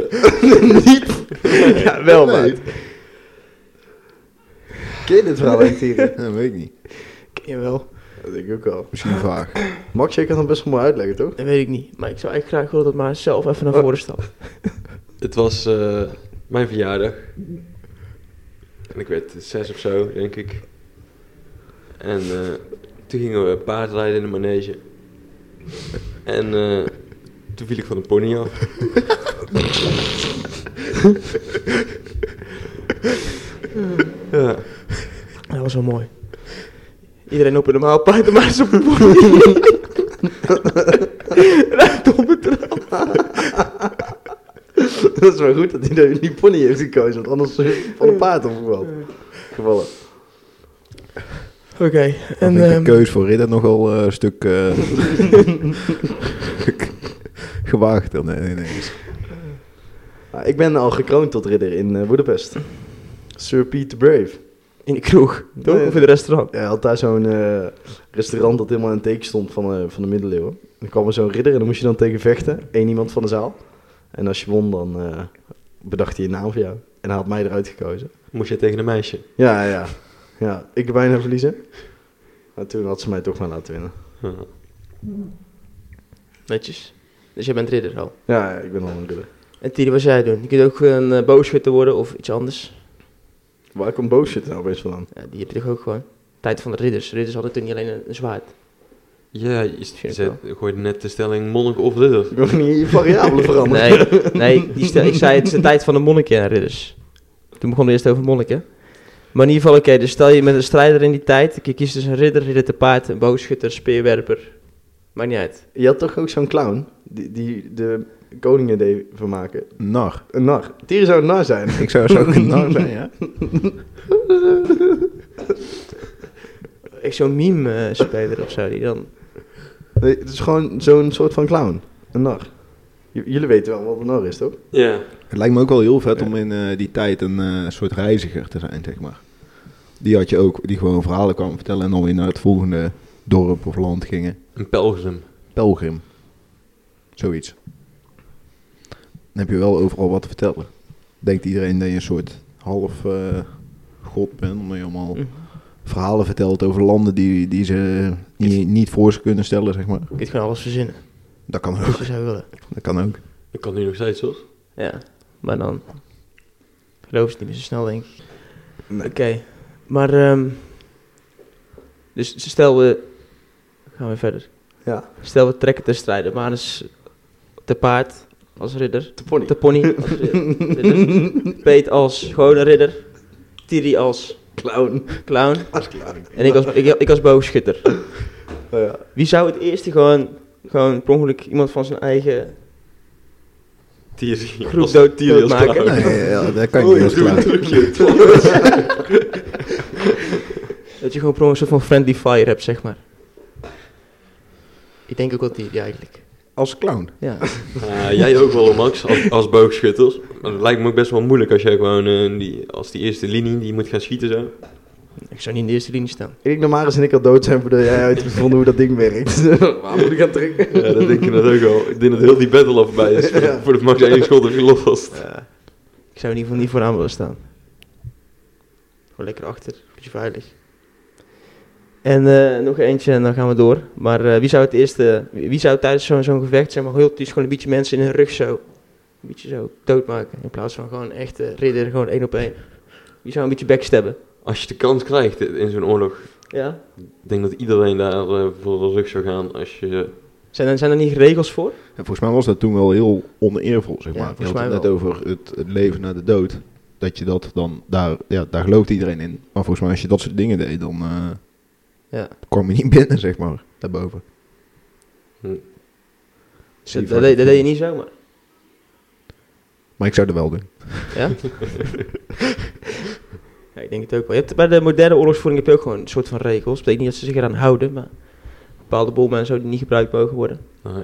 D: Niet? Ja, wel, maat. Ken je dit verhaal echt, Thierry?
B: Dat weet ik niet.
C: Ken je wel.
D: Dat denk ik ook wel.
B: Misschien vaag.
D: Max, jij kan het best wel mooi uitleggen, toch?
C: Dat weet ik niet, maar ik zou eigenlijk graag willen dat maar zelf even
D: Oh.
C: naar voren stapt.
A: Het was eh, mijn verjaardag. En ik werd zes of zo, denk ik. En eh, toen gingen we paardrijden in de manege. En eh, toen viel ik van de pony af. ja.
C: Dat was wel mooi. Iedereen op een normaal paard, maar zo'n pony. Rijdt op het trap.
D: Dat is wel goed dat hij die pony heeft gekozen, want anders van een paard opgevallen. Gevallen.
C: Oké, en...
B: En, vind ik
C: ehm,
B: de keus voor Ridder nogal eh, een stuk eh, gewaagd dan eh, ineens.
D: Ah, ik ben al gekroond tot ridder in eh Budapest. Sir Pete the Brave.
C: eh, in de kroeg, toch?
D: Nee.
C: Of in het restaurant?
D: Hij had daar zo'n eh, restaurant dat helemaal in het teken stond van, eh, van de middeleeuwen. Dan kwam er zo'n ridder en dan moest je dan tegen vechten. Eén iemand van de zaal. En als je won, dan eh, bedacht hij een naam voor jou. En hij had mij eruit gekozen.
A: Moest je tegen een meisje?
D: Ja, ja. Ja, ik bijna verliezen. Maar toen had ze mij toch maar laten winnen.
A: Ja.
C: Netjes. Dus jij bent ridder al.
D: Ja, ja, ik ben al een ridder.
C: En Tiri, wat zou jij doen? Je kunt ook een uh, boogschutter worden of iets anders.
D: Waar komt boos shit nou opeens vandaan?
C: Ja, die heb je toch ook gewoon. Tijd van de ridders. Ridders hadden toen niet alleen een, een zwaard.
A: Ja, je
C: ik
A: zet, gooide net de stelling monnik of ridder.
D: Ik wil niet je variabelen veranderen.
C: Nee, nee die stel- ik zei het is de tijd van de monniken en ridders. Toen begon het eerst over monniken. Maar in ieder geval, oké, dus stel je met een strijder in die tijd. Je kiest dus een ridder, ridder te paard, een boogschutter, speerwerper. Maakt niet uit.
D: Je had toch ook zo'n clown die, die de koningen deed vermaken?
B: Nar.
D: Een nar. Tieren zou een nar zijn.
B: Ik zou zo ook een nar zijn, ja.
C: Echt zo'n meme-speler of zo, die dan...
D: Nee, het is gewoon zo'n soort van clown. Een nar. J- jullie weten wel wat een nar is, toch?
A: Ja.
B: Het lijkt me ook wel heel vet om in eh, die tijd een eh, soort reiziger te zijn, zeg maar. Die had je ook, die gewoon verhalen kwam vertellen en dan weer naar het volgende dorp of land gingen.
A: Een pelgrim.
B: Pelgrim. Zoiets. Dan heb je wel overal wat te vertellen. Denkt iedereen dat je een soort half eh, god bent, omdat je allemaal
C: Mhm.
B: verhalen vertelt over landen die, die ze niet, niet voor ze kunnen stellen, zeg maar.
C: Je kunt gewoon alles verzinnen,
B: Dat kan
C: als
B: ook.
C: je zou willen.
B: Dat kan ook.
A: Dat kan nu nog steeds, hoor.
C: Ja, maar dan geloof ze het niet meer zo snel, denk ik.
D: Nee.
C: Oké, maar ehm, dus stel we gaan we verder.
D: Ja.
C: Stel we trekken te strijden, maar is te paard als ridder.
D: Te pony.
C: De pony als ridder. ridder. Peet als gewone ridder. Tiri als
D: Clown.
C: clown.
D: Als clown.
C: En ik als, ik, ik als boogschutter.
D: Oh ja.
C: Wie zou het eerste gewoon, gewoon per ongeluk iemand van zijn eigen...
A: Thierry.
C: Groep
A: Als-
C: dood-
A: Thierry als
C: doodmaken.
A: clown.
B: Nee, ja, dat kan
A: Oh,
B: ik niet als
A: doe een
B: klaar.
A: trucje.
C: Dat je gewoon per ongeluk een soort van friendly fire hebt, zeg maar. Ik denk ook wel Tiri eigenlijk.
B: Als clown.
C: Ja.
A: Ah, jij ook wel, Max, als, als boogschutter. Maar dat lijkt me ook best wel moeilijk als jij gewoon eh, die, als die eerste linie die moet gaan schieten zo.
C: Ik zou niet in de eerste linie staan.
D: Ik denk dat Maris en ik al dood zijn voordat jij uitgevonden hoe dat ding werkt. Waar moet ik aan trekken?
A: Ja, dat denk je dat ook wel. Ik denk dat heel die battle al voorbij is.
D: Ja.
A: Voor de Max één schot of gelost.
D: Ja.
C: Ik zou in ieder geval niet vooraan willen staan. Gewoon lekker achter, een beetje veilig. En eh, nog eentje en dan gaan we door. Maar eh, wie zou het eerste, wie wie zou tijdens zo'n zo'n gevecht, zeg maar, heel typisch gewoon een beetje mensen in hun rug zo, een beetje zo doodmaken. In plaats van gewoon echt eh, ridder, gewoon één op één. Wie zou een beetje backstabben?
A: Als je de kans krijgt in zo'n oorlog,
C: Ja.
A: ik denk dat iedereen daar eh, voor de rug zou gaan als je...
C: Zijn er, zijn er niet regels voor?
B: En volgens mij was dat toen wel heel oneervol, zeg
C: Ja,
B: maar. Je
C: volgens
B: had het
C: mij
B: net
C: wel.
B: over het, het leven na de dood. Dat je dat dan, daar, ja, daar gelooft iedereen in. Maar volgens mij als je dat soort dingen deed, dan eh,
C: Ja.
B: kwam je niet binnen, zeg maar, daarboven.
C: Dus
B: Die
C: dat,
B: van-
C: dat deed, dat deed je niet zomaar.
B: Maar ik zou er wel doen.
C: Ja? ja, ik denk het ook wel. Je hebt, bij de moderne oorlogsvoering heb je ook gewoon een soort van regels. Dat betekent niet dat ze zich eraan houden, maar bepaalde bommen en zo die niet gebruikt mogen worden.
A: nou,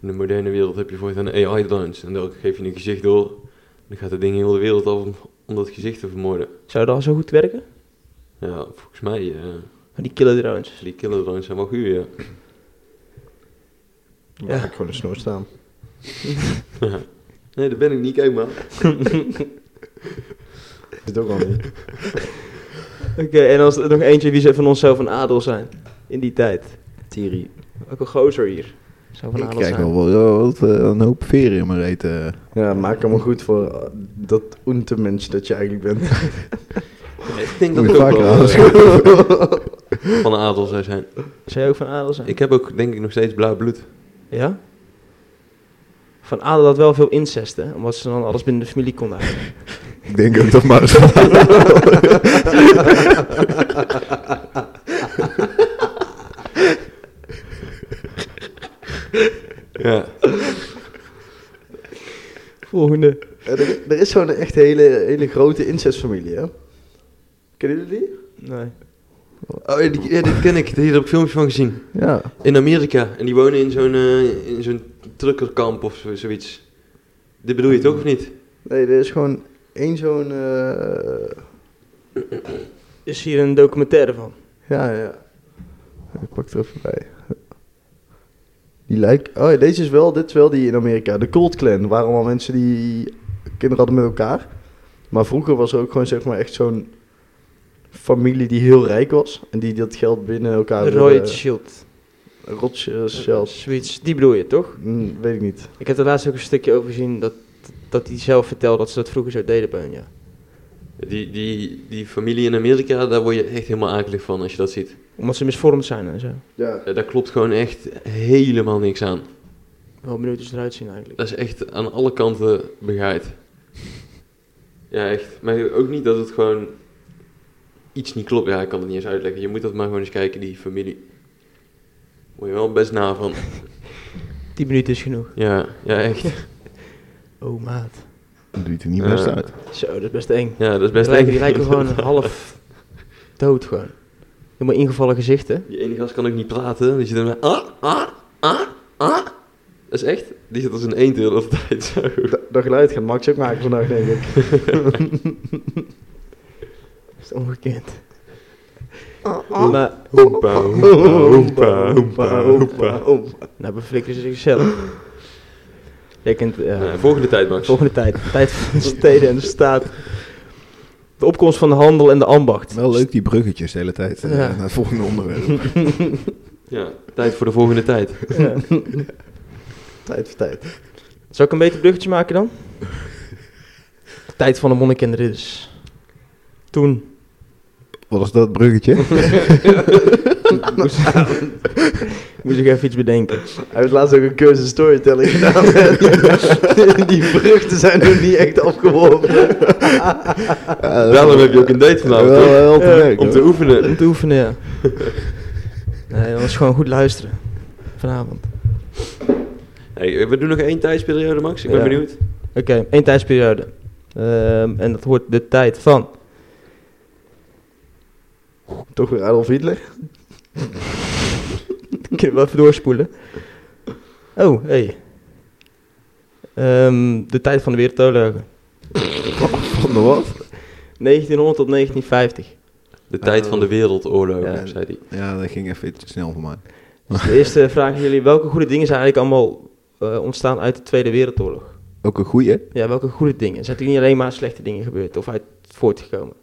A: in de moderne wereld heb je voortaan AI-drones. En dan geef je een gezicht door. Dan gaat dat ding heel de wereld af om, om dat gezicht te vermoorden.
C: Zou dat al zo goed werken?
A: Ja, volgens mij, eh,
C: Maar die killer drones.
A: die killer drones zijn wel goed, ja.
D: Dan
C: Ja.
D: ga ik gewoon een snor staan.
A: Nee, dat ben ik niet, kijk maar.
D: Dat is het ook al niet.
C: Oké, en als er nog eentje wie ze van ons zou van adel zijn in die tijd.
D: Thierry.
C: Ook een gozer hier. Zou van
B: ik
C: adel
B: krijg
C: zijn.
B: wel wel- wel wat, eh, een hoop veren in mijn reet. eh.
D: Ja, maak hem maar goed voor eh, dat mens dat je eigenlijk bent.
A: Ik denk
B: Moet
A: dat
B: je
A: het ook
B: vaker
A: wel
B: aanschouwen.
A: eh, van de adel zou zijn.
C: Zou jij ook van adel zijn?
A: Ik heb ook denk ik nog steeds blauw bloed.
C: Ja? Van adel had wel veel incest, hè? Omdat ze dan alles binnen de familie konden houden.
B: Ik denk ook dat maar eens-
A: Ja.
C: Volgende.
D: Eh, er, er is zo'n echt hele, hele grote incestfamilie, hè? Kennen jullie die?
C: Nee.
A: Oh, ja, die- ja, dit ken ik. Hier heb ik filmpjes van gezien.
D: Ja.
A: In Amerika. En die wonen in zo'n eh, in zo'n truckerkamp of zo- zoiets. Dit bedoel je toch of niet?
D: Nee, er is gewoon één zo'n... eh,
C: Is hier een documentaire van?
D: Ja, ja. Ik pak er even bij. Die lijkt... Oh ja, deze is wel, dit is wel die in Amerika. De Cold Clan waren allemaal mensen die kinderen hadden met elkaar. Maar vroeger was er ook gewoon zeg maar echt zo'n familie die heel rijk was. En die dat geld binnen elkaar...
C: De Royal Shield.
D: Rothschilds zelfs.
C: Eh, Zoiets. Die bedoel je, toch?
D: Hm, weet ik niet.
C: Ik heb er laatst ook een stukje over gezien dat, dat hij zelf vertelde dat ze dat vroeger zo deden bij hun, ja.
A: Die, die, die familie in Amerika, daar word je echt helemaal akelig van als je dat ziet.
C: Omdat ze misvormd zijn en zo.
D: Ja.
A: Eh, Daar klopt gewoon echt helemaal niks aan.
C: Wel benieuwd hoe ze eruit zien eigenlijk.
A: Dat is echt aan alle kanten begaaid. Ja, echt. Maar ook niet dat het gewoon iets niet klopt. Ja, ik kan het niet eens uitleggen. Je moet dat maar gewoon eens kijken, die familie. Word je wel best na van.
C: 10 minuten is genoeg.
A: Ja, ja, echt.
C: Oh maat.
B: Dat doet er niet best
A: Eh,
B: uit.
C: Zo, dat is best eng.
A: Ja, dat is
C: Die
A: best
C: lijken,
A: eng.
C: die lijken gewoon eh, half dood gewoon. Helemaal ingevallen gezichten.
A: Die ene gast kan ook niet praten. Die zit dan... Ah, ah, ah, ah. Dat is echt. Die zit als een eend de hele tijd zo.
D: Dat geluid gaat Max ook maken vandaag, denk ik.
C: Dat is ongekend.
D: ah.
C: Maar,
A: Hoempa, hoempa, hoempa, hoempa, hoempa.
C: nou beflikken ze zichzelf. Jij kent, ja.
A: Nou, volgende tijd, Max.
C: volgende tijd. Tijd van de steden en de staat. De opkomst van de handel en de ambacht.
B: Wel leuk die bruggetjes de hele tijd eh,
C: Ja.
B: naar het volgende onderwerp.
A: Ja, tijd voor de volgende tijd.
C: Ja.
D: Tijd voor tijd.
C: Zal ik een beter bruggetje maken dan? De tijd van de monnik en de ridders. Toen.
B: Wat was dat bruggetje?
C: Moet ik even iets bedenken.
D: Hij heeft laatst ook een cursus storytelling gedaan. die vruchten zijn nog niet echt afgeworpen.
B: Eh,
C: Eh,
A: Daarom heb je ook een date vanavond,
B: Nou, Wel,
A: toch?
B: wel
C: Ja,
B: te werk,
A: Om
B: hoor.
A: te oefenen.
C: Om te oefenen, ja. Nee, dat was gewoon goed luisteren. Vanavond.
A: Hey, we doen nog één tijdsperiode, Max. Ik ben
C: Ja.
A: benieuwd.
C: Oké, één tijdsperiode. Ehm, en dat hoort de tijd van.
D: Toch weer Adolf Hitler?
C: Kunnen we even doorspoelen? Oh, hey. Ehm, de tijd van de wereldoorlogen.
D: Van de wat?
C: 1900 tot 1950.
A: De tijd van de wereldoorlog,
B: Ja.
A: zei hij.
B: Ja, dat ging even iets te snel voor mij.
C: Dus de eerste vraag aan jullie. Welke goede dingen zijn eigenlijk allemaal eh, ontstaan uit de Tweede Wereldoorlog?
B: Ook een goeie.
C: Ja, welke goede dingen? Zijn er niet alleen maar slechte dingen gebeurd of uit voortgekomen?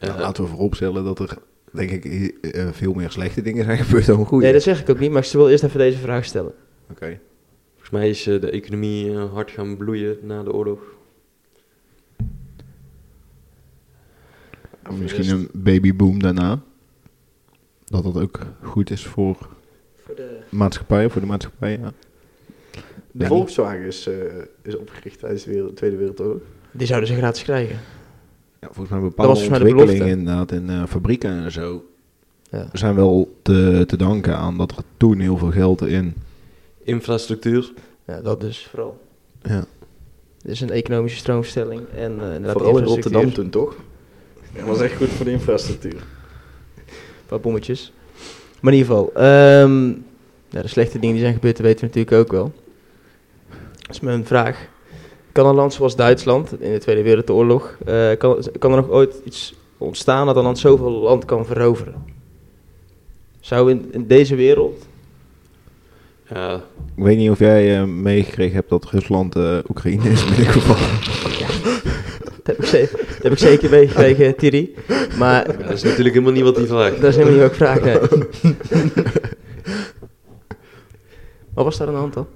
B: Nou,
A: Eh,
B: laten we vooropstellen dat er, denk ik, eh, eh, veel meer slechte dingen zijn gebeurd dan goede.
C: Nee, dat zeg ik ook niet, maar ik wil eerst even deze vraag stellen.
B: Oké.
A: Volgens mij is eh, de economie eh, hard gaan bloeien na de oorlog.
B: Of misschien
D: Dus
B: een babyboom daarna. Dat dat ook goed is voor
C: Voor de...
B: maatschappij, voor de maatschappij, ja.
D: De
B: Ja.
D: Volkswagen is, eh, is opgericht tijdens de wereld- Tweede Wereldoorlog.
C: Die zouden ze gratis krijgen.
B: Ja, volgens mij bepaalde
C: volgens mij de
B: ontwikkelingen
C: belofte.
B: inderdaad in eh, fabrieken en zo
C: Ja.
B: zijn wel te, te danken aan dat er toen heel veel geld in.
A: Infrastructuur.
C: Ja, dat dus vooral.
B: Ja.
C: Dit is een economische stroomstelling en eh inderdaad
D: Vooral in
C: infrastructuur.
D: Rotterdam toen, toch? Dat was echt goed voor de infrastructuur.
C: Een paar bommetjes. Maar in ieder geval, ehm, ja, de slechte dingen die zijn gebeurd, dat weten we natuurlijk ook wel. Dat is mijn vraag. Kan een land zoals Duitsland in de Tweede Wereldoorlog, eh, kan, kan er nog ooit iets ontstaan dat een land zoveel land kan veroveren? Zou in, in deze wereld,
A: Ja,
B: Ik weet niet of jij eh, meegekregen hebt dat Rusland eh, Oekraïne is binnengevallen.
C: dat heb ik, ze- dat heb ik zeker meegekregen, Thierry, maar
A: dat is natuurlijk helemaal niet wat hij vraagt.
C: dat is helemaal niet wat ik vraag. nee. Wat was daar aan de hand dan?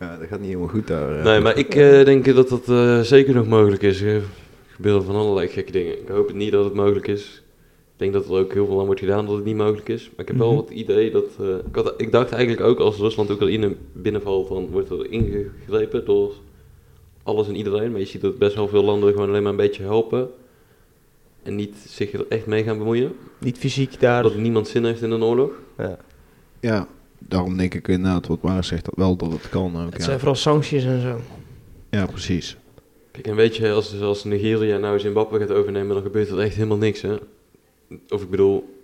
B: ja, dat gaat niet helemaal goed daar. eh.
A: Nee, maar ik eh, denk dat dat eh, zeker nog mogelijk is. Er gebeuren van allerlei gekke dingen. Ik hoop het niet dat het mogelijk is. Ik denk dat er ook heel veel aan wordt gedaan dat het niet mogelijk is. Maar ik heb wel
C: Mhm.
A: het idee dat... eh, ik, had, ik dacht eigenlijk ook als Rusland Oekraïne binnenvalt... dan wordt er ingegrepen door alles en iedereen. Maar je ziet dat best wel veel landen gewoon alleen maar een beetje helpen. En niet zich er echt mee gaan bemoeien.
C: Niet fysiek daar.
A: Dat niemand zin heeft in een oorlog.
C: Ja.
B: Ja, daarom denk ik inderdaad wat Mara zegt, dat wel dat het kan ook.
C: Het
B: Ja,
C: zijn vooral sancties en zo.
B: ja precies.
A: Kijk, en weet je, als, als Nigeria nou Zimbabwe gaat overnemen, dan gebeurt er echt helemaal niks, hè? Of ik bedoel,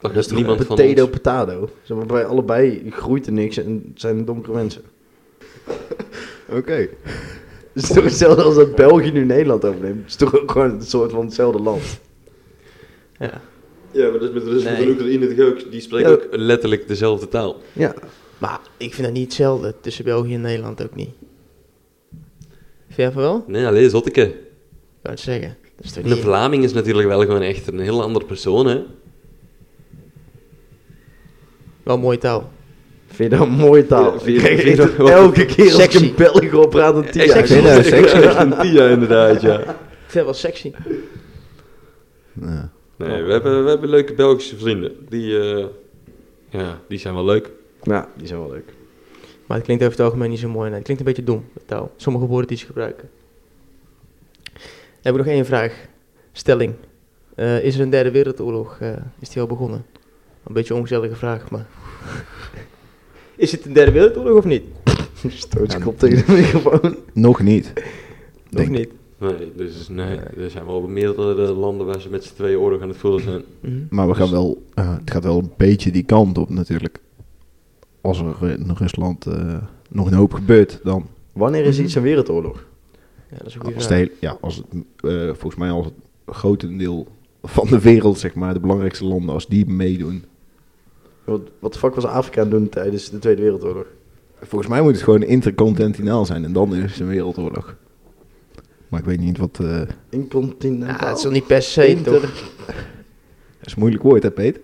A: dan gaat niemand van
D: potato,
A: ons...
D: potato. Zeg maar, bij allebei groeit er niks en zijn donkere mensen.
B: Oké.
D: Het is toch hetzelfde als dat België nu Nederland overneemt. Het is toch ook gewoon een soort van hetzelfde land.
C: Ja.
A: Ja, maar dat is met de
C: rest van de Nee.
A: Oekraïne toch ook. Die spreken
D: Ja.
A: ook letterlijk dezelfde taal.
D: Ja.
C: Maar ik vind dat niet hetzelfde. Tussen België en Nederland ook niet. Vind jij van wel? Ik
A: Nee, alleen zotteke.
C: kan het zeggen. Dat is toch
A: Een
C: niet...
A: Vlaming is natuurlijk wel gewoon echt een heel andere persoon, hè?
C: Wel een mooie taal.
D: Vind je dat een mooie taal?
A: Ja, vind je-
D: ik krijg
A: vind je
D: echt
A: dat-
D: elke keer als ik
C: Sexy.
D: een Belg op praat een tien
A: Echt
B: vind dat sexy.
A: Echt een tia, inderdaad, ja.
C: Ik vind dat wel sexy.
B: Ja.
A: Nee, we hebben, we hebben leuke Belgische vrienden. Die, eh, ja, die zijn wel leuk.
D: Ja, die zijn wel leuk.
C: Maar het klinkt over het algemeen niet zo mooi. Nee, het klinkt een beetje dom, de taal. Sommige woorden die ze gebruiken. Dan heb ik nog één vraag. Stelling. Eh, is er een derde wereldoorlog? eh, is die al begonnen? Een beetje een ongezellige vraag, maar... is het een derde wereldoorlog of niet?
D: Stoot zijn kop tegen de microfoon.
B: Nog niet.
C: Nog
B: Denk-
C: niet?
A: Nee, dus nee, er zijn wel meerdere landen waar ze met z'n twee oorlog aan het voeren zijn.
C: Mhm.
B: Maar we gaan wel, eh, het gaat wel een beetje die kant op natuurlijk. Als er in Rusland eh, nog een hoop gebeurt, dan
D: Wanneer is iets een wereldoorlog?
C: Ja, dat is een goede
B: als, de
C: vraag.
B: hele- ja, als het, eh, volgens mij als het grotendeel van de wereld, zeg maar, de belangrijkste landen, als die meedoen.
D: Wat, wat de fuck was Afrika aan het doen tijdens de Tweede Wereldoorlog?
B: Volgens mij moet het gewoon intercontinentaal zijn en dan is het een wereldoorlog. Maar ik weet niet wat, eh, dat
D: Incontinentaal?
C: Ja, Nou, het is nog niet per se,
D: Inter-
C: toch?
B: is een moeilijk woord hè Peet?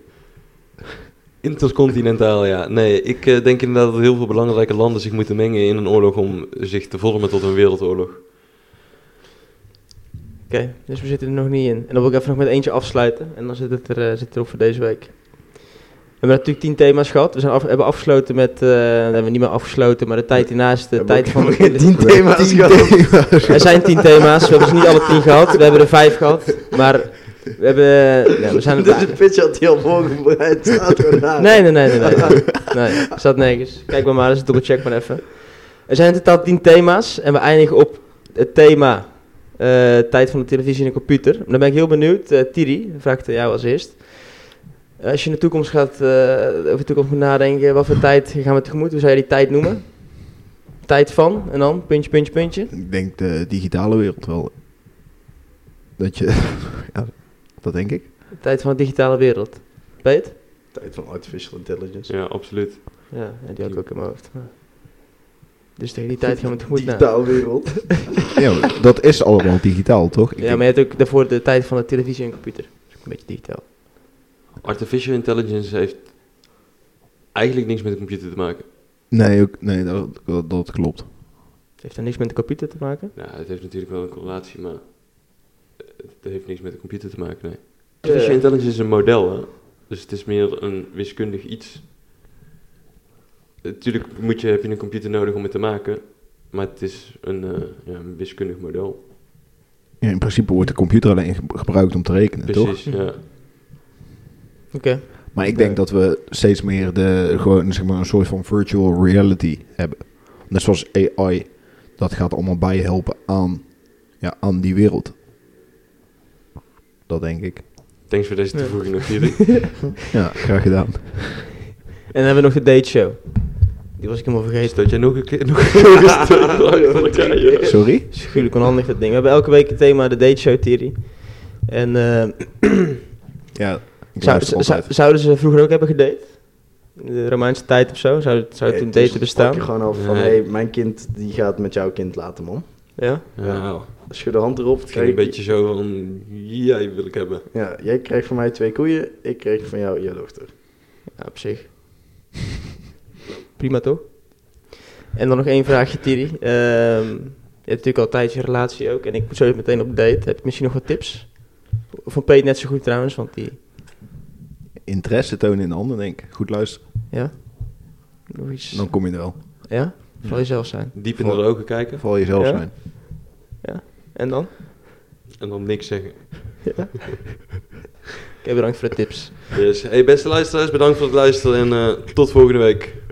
A: Intercontinentaal, ja. Nee, ik eh, denk inderdaad dat heel veel belangrijke landen zich moeten mengen in een oorlog om zich te vormen tot een wereldoorlog.
C: dus we zitten er nog niet in. En dan wil ik even nog met eentje afsluiten. En dan zit het, er, eh, zit het erop voor deze week. We hebben natuurlijk tien thema's gehad. We zijn af- hebben afgesloten met... eh, hebben we niet meer afgesloten, maar de tijd hiernaast. De tijd van...
D: Tien thema's gehad.
C: Er zijn tien thema's. We hebben ze niet alle tien gehad. We hebben er vijf gehad. Maar we hebben... nee, we zijn
D: Dit is een pitch had hij al voorbereid. Staat er daar.
C: Nee, nee, nee, nee. Nee, nee staat nergens. Kijk maar maar eens, double check maar even. Er zijn in totaal 10 thema's en we eindigen op het thema eh, tijd van de televisie en de computer. Dan ben ik heel benieuwd, eh, Thierry, dan vraag ik het aan jou als eerst. Als je in de toekomst gaat, eh, over de toekomst moet nadenken, wat voor tijd gaan we tegemoet? Hoe zou je die tijd noemen? Tijd van en dan? Puntje, puntje, puntje.
B: Ik denk de digitale wereld wel. Dat je... ja, dat denk ik.
C: Tijd van de digitale wereld. Weet?
D: Tijd van artificial intelligence.
A: Ja, absoluut.
C: Ja, die had ik ook in mijn hoofd. Ja. Dus tegen die tijd gaan we tegemoet nou. na.
D: Digitaal wereld.
B: Ja, maar dat is allemaal digitaal, toch? Ik
C: Ja, maar je hebt ook daarvoor de tijd van de televisie en computer. Dat is ook een beetje digitaal.
A: Artificial intelligence heeft eigenlijk niks met de computer te maken.
B: Nee, ook, nee dat, dat, dat klopt.
C: Het heeft er niks met de computer te maken.
A: Nou, het heeft natuurlijk wel een correlatie, maar het heeft niks met de computer te maken, nee.
C: Ja.
A: Artificial intelligence is een model, hè? Dus het is meer een wiskundig iets. Natuurlijk moet je, heb je een computer nodig om het te maken, maar het is een, eh, ja, een wiskundig model.
B: Ja, in principe wordt de computer alleen ge- gebruikt om te rekenen, toch?
A: Precies, ja.
C: Oké.
B: Maar ik denk dat we steeds meer de, gewoon, zeg maar, een soort van virtual reality hebben. Net zoals AI. Dat gaat allemaal bijhelpen aan, ja, aan die wereld. Dat denk ik.
A: Thanks voor deze
C: Ja.
A: toevoeging natuurlijk.
B: Ja, graag gedaan.
C: En dan hebben we nog de date show. Die was ik helemaal vergeten.
A: Stoot jij nog een keer? Nog nog een stoot achter elkaar, joh.
B: Sorry?
C: Schuurlijk onhandig dat ding. We hebben elke week het thema de date show theory. En eh,
B: Ja, ik
C: zou,
B: luister
C: zou-
B: altijd.
C: zouden ze vroeger ook hebben gedate? In de Romeinse tijd of zo? Zou, zou
D: Ja,
C: toen
D: dus
C: daten bestaan?
D: pak je gewoon af van,
A: Nee.
D: hey, mijn kind die gaat met jouw kind laten, man.
C: Ja?
A: Ja,
D: Als je de hand erop,
A: het
D: krijg
A: ging
D: je
A: een beetje zo van, jij wil ik hebben.
D: Ja, jij krijgt van mij twee koeien, ik krijg van jou je dochter.
C: Ja, op zich. Prima toch? En dan nog één vraagje, Thierry. Ehm, je hebt natuurlijk altijd je relatie ook. En ik moet zo meteen op date. Heb je misschien nog wat tips? Van Peet net zo goed trouwens, want die...
B: Interesse tonen in de ander, denk ik. Goed luisteren,
C: Ja? Nog iets?
B: dan kom je er wel.
C: Ja? Zal jezelf zijn.
A: Diep in de ogen kijken
B: Vooral jezelf
C: Ja?
B: zijn.
C: En dan?
A: en dan niks zeggen.
C: Ja? Oké, bedankt voor de tips.
A: Dus, hey beste luisteraars, bedankt voor het luisteren en eh, tot volgende week.